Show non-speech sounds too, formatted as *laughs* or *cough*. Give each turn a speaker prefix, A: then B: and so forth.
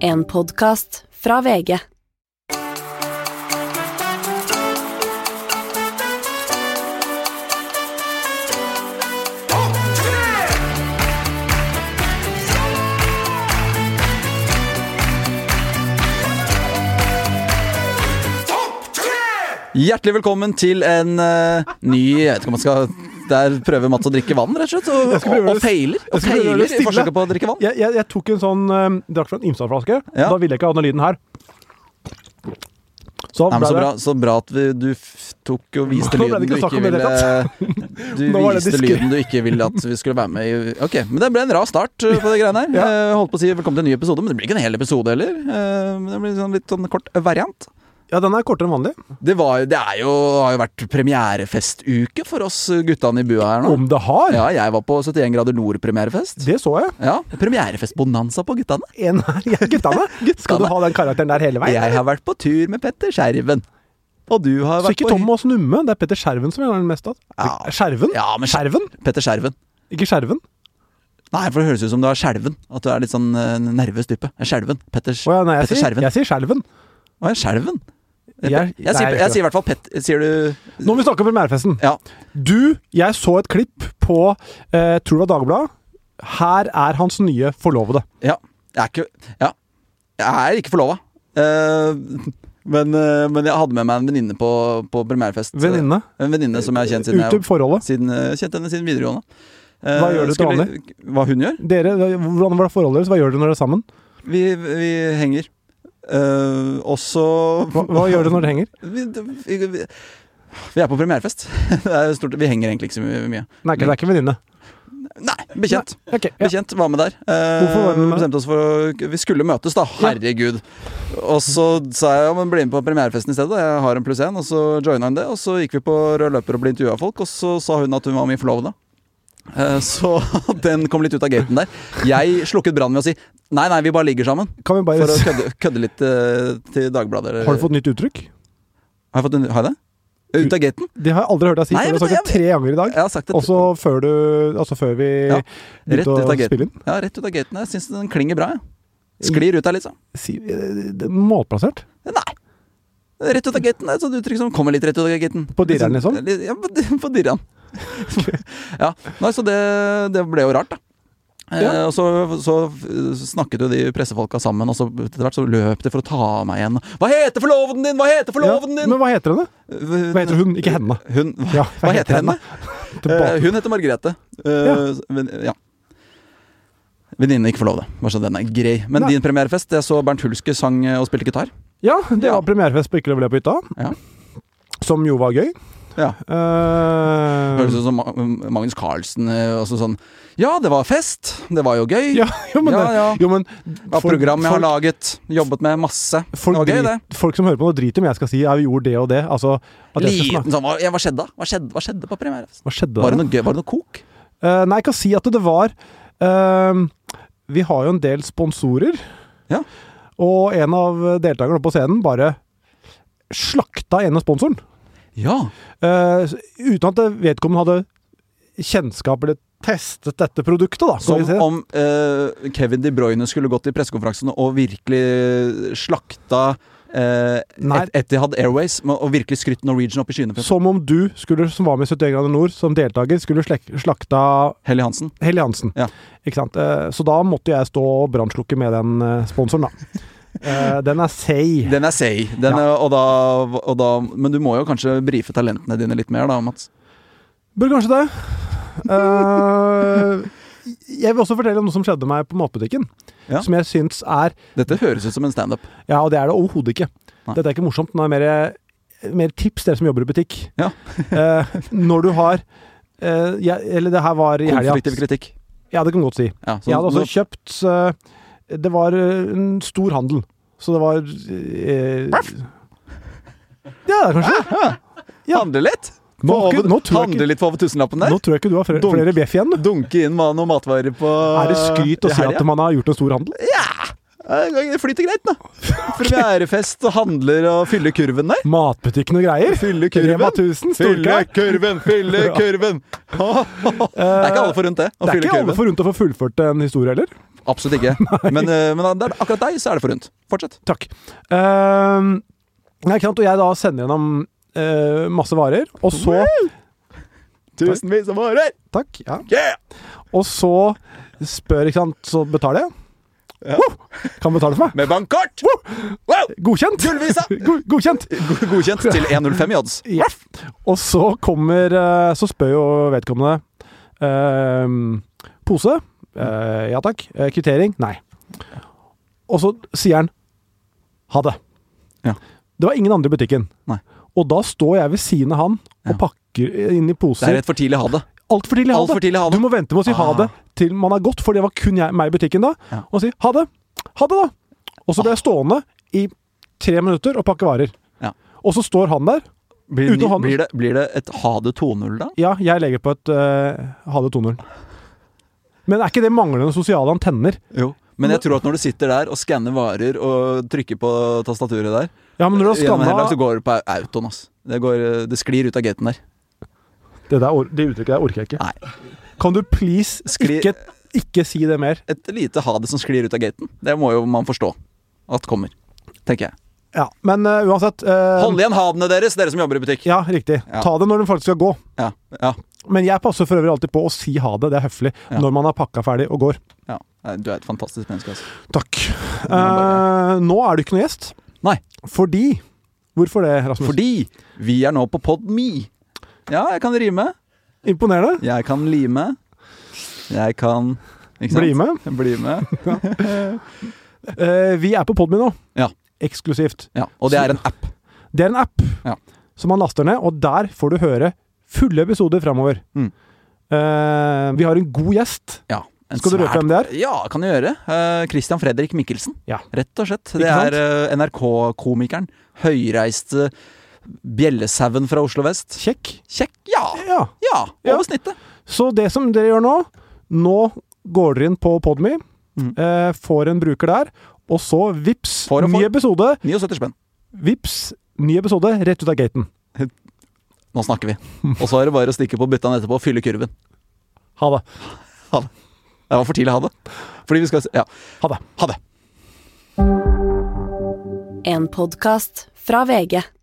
A: En podcast fra VG.
B: Hjertelig velkommen til en eh, ny Jeg vet ikke om man skal Der prøver Mats å drikke vann, rett og slett. Og,
C: Jeg skal prøve
B: og,
C: å-
B: og peiler.
C: jeg
B: Og
C: skal prøve å
B: peiler
C: være
B: i
C: stille.
B: forsøket på å drikke vann.
C: Jeg, jeg, jeg tok en sånn um, Drakk fra en Imsdal-flaske.
B: Ja.
C: Da ville jeg ikke ha denne lyden her. Så
B: Nei, men
C: ble
B: så,
C: det
B: bra, så bra at vi, du f- tok og viste
C: Nå ble det
B: lyden du
C: ikke snakk
B: ikke
C: om det i det
B: ville Du
C: Nå var det
B: viste
C: diskret.
B: lyden du ikke ville at vi skulle være med i Ok, men det ble en rar start eh, på det greiene her. Eh, Holdt på å si velkommen til en ny episode, men det blir ikke en hel episode heller. Eh, men Det blir sånn litt sånn kort variant.
C: Ja, den er kortere enn vanlig.
B: Det, var, jo- det er jo, har jo vært premierefestuke for oss guttene i bua her nå.
C: Om det har!
B: Ja, jeg var på 71 grader nord-premierefest.
C: Det så jeg.
B: Ja, Premierefest-bonanza på guttene.
C: En her *laughs* ja, guttene. Skal du ha den karakteren der hele veien?
B: Jeg har vært på tur med Petter Skjerven. Og du har
C: Så
B: vært
C: ikke
B: på
C: Thomas Numme, det er Petter Skjerven som jeg har den mest av.
B: Ja.
C: Skjerven?
B: Ja, men Skjer-
C: Skjerven?
B: Petter Skjerven.
C: Ikke Skjerven?
B: Nei, for det høres ut som du er skjelven. At du er litt sånn eh, nervøs type. Jeg er Skjelven. Petter,
C: Å ja, nei, jeg
B: Petter
C: sier,
B: Skjerven.
C: jeg sier Skjerven.
B: Å, jeg er skjelven. Jeg,
C: Jeg-
B: jeg, sier,
C: nei, jeg
B: jeg,
C: gjør ikke
B: sier i hvert fall Pet... Sier du
C: Nå må vi snakke om premierefesten.
B: Ja.
C: Du, jeg så et klipp på eh, tror det var Dagbladet. Her er hans nye forlovede.
B: Ja. Jeg er ikke Ja. Jeg er ikke forlova. Eh, men, eh, men jeg hadde med meg en venninne på, på premierefest.
C: Venninne.
B: En venninne som jeg har kjent siden jeg
C: Utdyp forholdet.
B: siden, eh, kjent henne siden videregående. Eh,
C: Hva gjør du til
B: skulle- Hva hun gjør?
C: Dere, hvordan var det forholdet deres? Hva gjør dere når dere er sammen?
B: Vi, vi henger. Uh, og så
C: Hva, hva gjør dere når dere henger?
B: vi, vi, vi, vi er på premierefest. *laughs* Det er stort, vi henger egentlig ikke så mye. mye.
C: Nei, ikke- det er ikke venninne.
B: Nei, bekjent.
C: Ok, ja.
B: Bekjent var med der. Eh,
C: Hvorfor var den med?
B: bestemte oss for å Vi skulle møtes, da. Herregud. Og så sa jeg ja, men bli med på premierefesten i stedet. da. Jeg har en pluss én. Og så joina hun det. Og så gikk vi på rød løper og ble intervjua av folk, og så sa hun at hun var min forlovede. Eh, Så *laughs* den kom litt ut av gaten der. Jeg slukket brannen ved å si nei, nei, vi bare ligger sammen.
C: Kan vi bare
B: For å
C: s-
B: kødde, kødde litt eh, til Dagbladet. eller-
C: Har du fått nytt uttrykk?
B: Har jeg fått en- har jeg det? Ut av gaten?
C: Det har jeg aldri hørt deg si
B: Nei,
C: før. Du
B: vet
C: har sagt
B: du,
C: det tre ganger i dag.
B: Jeg har sagt det.
C: Også før, du, altså før vi
B: Ja, rett
C: begynte
B: ut av
C: å spille
B: gaten.
C: inn.
B: Ja, rett ut av gaten. Jeg syns den klinger bra. jeg. Sklir ut der, liksom.
C: Si, eh, det er målplassert.
B: Nei. Rett ut av gaten. Det er et sånt uttrykk som kommer litt rett ut av gaten.
C: På dirren, liksom?
B: Litt- Ja, på, di- på dirren. ja. Nei, så det, det ble jo rart, da. Eh,
C: Ja.
B: og så, så f- snakket jo de pressefolka sammen, og så etter hvert så løp de for å ta av meg igjen. Hva heter forloveden din?! Hva heter
C: Ja,
B: forloveden din?!
C: men hva heter henne? Hva heter hun? Ikke henne.
B: Hun, hva,
C: Ja,
B: hva heter henne? Eh,
C: Tilbake.
B: hun heter Margrethe. Eh,
C: Ja.
B: ven- ja. Venninnen ikke forlovede. Bare så den er grei. Men
C: Nei.
B: din premierefest, jeg så Bernt Hulske sang eh, og spilte gitar.
C: Ja, det
B: Ja.
C: var premierefest på Ikke lov å le på hytta.
B: Ja.
C: Som jo var gøy.
B: Ja.
C: Eh,
B: Høres ut som Ma- Magnus Carlsen. eh, Også sånn Ja, det var fest! Det var jo gøy!
C: ja, *laughs* jo, men,
B: Ja,
C: det-
B: ja.
C: Jo, men
B: Hva
C: for-
B: program jeg har
C: folk-
B: laget. Jobbet med masse.
C: Folk,
B: det var gøy, det.
C: drit, folk som hører på nå, driter i om jeg skal si ja, vi gjorde det og det. Altså, at jeg skal
B: Liten
C: snakke.
B: sånn hva, ja, hva skjedde da? Hva skjedde, hva skjedde på premierefest?
C: Hva skjedde
B: Var
C: der?
B: det noe gøy? Var det noe kok?
C: Eh, nei, jeg kan si at det var ehm, Vi har jo en del sponsorer.
B: Ja.
C: Og en av deltakerne oppe på scenen bare slakta en av sponsoren.
B: Ja.
C: Eh, uten at vedkommende hadde kjennskap eller testet dette produktet, da. skal vi
B: Som
C: si.
B: om eh, Kevin De Bruyne skulle gått i pressekonferansen og virkelig slakta eh,
C: Nei.
B: Et Etihad Airways med- og virkelig skrytt Norwegian opp i skyene. Petter.
C: Som om du, skulle, som var med i 71 grader nord, som deltaker, skulle slek, slakta
B: Helly Hansen.
C: Helly Hansen.
B: Ja.
C: Ikke sant? Eh, Så da måtte jeg stå og brannslukke med den eh, sponsoren, da. Eh, Den er Say.
B: Den er say. Den
C: Ja.
B: er, og da, og da, men du må jo kanskje brife talentene dine litt mer, da, Mats.
C: Bør kanskje det. Eh, Jeg vil også fortelle om noe som skjedde meg på matbutikken.
B: Ja.
C: Som jeg syns er
B: Dette høres ut som en standup.
C: Ja, og det er det overhodet ikke.
B: Nei.
C: Dette er ikke morsomt. Det er mer, mer tips, dere som jobber i butikk.
B: Ja.
C: Eh, når du har eh, jeg, Eller det her var i helga.
B: Konstruktiv kritikk.
C: Ja, det kan du godt si.
B: Ja, så
C: Jeg hadde
B: nå-
C: også kjøpt eh, Det var eh, en stor handel, så det var Paff! Ja, det er kanskje det. ja.
B: Handle litt!
C: Nå,
B: Få
C: ikke-
B: over-
C: nå tror jeg
B: handle
C: ikke-
B: litt for over tusenlappen der.
C: Nå tror jeg ikke du har flere,
B: Dunk.
C: flere bjeff igjen. du.
B: Dunke inn med noen matvarer på
C: Er det skryt å si at
B: helga.
C: man har gjort en stor handel?
B: Det flyter
C: *laughs*
B: greit, da. Premierefest og handler og fyller kurven der.
C: Matbutikken og greier?
B: Fylle kurven.
C: Rema 1000,
B: Fylle
C: storkø.
B: kurven, fylle *laughs* kurven! det er ikke alle forunt, det. Å
C: Det er
B: fylle
C: ikke alle
B: kurven.
C: forunt å få fullført en historie heller.
B: Absolutt *laughs* ikke. Men, eh, men det er akkurat deg så er det forunt. Fortsett.
C: Takk. Ehm, nei, ikke sant? Og jeg da sender gjennom eh, masse varer, og så
B: Tusenvis av varer!
C: Takk. Ja.
B: Yeah!
C: Og så spør, ikke sant, så betaler jeg. Wow! Kan betale for meg.
B: Med bankkort! Wow!
C: Godkjent! *laughs*
B: Gullvisa!
C: God, godkjent!
B: God- Godkjent til 1,05 i odds.
C: Ja. Og så kommer eh, Så spør jo vedkommende ehm, Pose? Eh, ja takk. Eh, kvittering? Nei. Og så sier han ha det.
B: Ja.
C: Det var ingen andre i butikken.
B: Nei.
C: Og da står jeg ved siden av han og pakker inn i
B: Det er
C: poser.
B: et for tidlig ha det.
C: Altfor tidlig ha
B: Alt for tidlig ha det.
C: Du må vente med å si ha
B: Ah.
C: det til man har gått, for det var kun jeg, meg i butikken da.
B: Ja. Ah.
C: Og si ha det. Ha det, da. Og så ble jeg stående i tre minutter og pakke varer.
B: Ja.
C: Og så står han der.
B: Blir, det ny-
C: Uten handel.
B: blir, det, blir det et ha det 2.0 da?
C: Ja, jeg legger på et eh, ha det 2-0. Men er ikke det manglende sosiale antenner?
B: Jo. Men jeg tror at når du sitter der og skanner varer og trykker på tastaturet der
C: Ja, men når du har
B: Gjennom Hellas så
C: skanna
B: går det på autoen, ass. Det, går, eh, det sklir ut av gaten der.
C: det, der or- det uttrykket der orker jeg ikke.
B: Nei.
C: Kan du please
B: Skli-
C: ikke, ikke si det mer?
B: Et lite ha det som sklir ut av gaten. Det må jo man forstå at kommer. Tenker jeg.
C: Ja, men eh, uansett eh,
B: Hold igjen havene deres, dere som jobber i butikk.
C: Ja, riktig.
B: Ja.
C: Ta det når den faktisk skal gå.
B: Ja, ja,
C: Men jeg passer for øvrig alltid på å si ha det, det er høflig,
B: Ja.
C: når man har pakka ferdig og går.
B: ja. Nei, Du er et fantastisk menneske, altså.
C: Takk.
B: bare-
C: Eh, nå er du ikke noe gjest,
B: Nei,
C: fordi Hvorfor det, Rasmus?
B: fordi vi er nå på PodMe. Ja, jeg kan rime.
C: Imponerende.
B: Jeg kan lime. Jeg kan ikke sant?
C: Bli med.
B: Bli med.
C: Eh, vi er på Podmy nå,
B: Ja.
C: eksklusivt.
B: ja. Og det er en app.
C: Det er en app
B: Ja.
C: som man laster ned, og der får du høre fulle episoder framover.
B: Mm.
C: Eh, vi har en god gjest.
B: Ja, en
C: Skal du røpe
B: svært-
C: hvem det er?
B: Ja, kan jeg gjøre. Eh, Christian Fredrik Mikkelsen.
C: Ja.
B: Rett og slett. Det
C: Ikke sant?
B: er eh, NRK-komikeren. Høyreiste bjellesauen fra Oslo vest.
C: Kjekk.
B: Kjekk, ja!
C: Ja.
B: Ja,
C: Ja.
B: over snittet.
C: Så det som dere gjør nå Nå går dere inn på Podmy,
B: Mm.
C: eh, får en bruker der, og så vips,
B: Får og
C: ny
B: får.
C: episode.
B: 79 spenn.
C: Vips, ny episode rett ut av gaten.
B: Nå snakker
C: *laughs*
B: vi. Og så er det bare å stikke på byttene etterpå og fylle kurven.
C: Ha det.
B: Det var for tidlig å ha det. Fordi vi skal se Ja.
C: Ha det.
B: Ha det.
A: En podkast fra VG.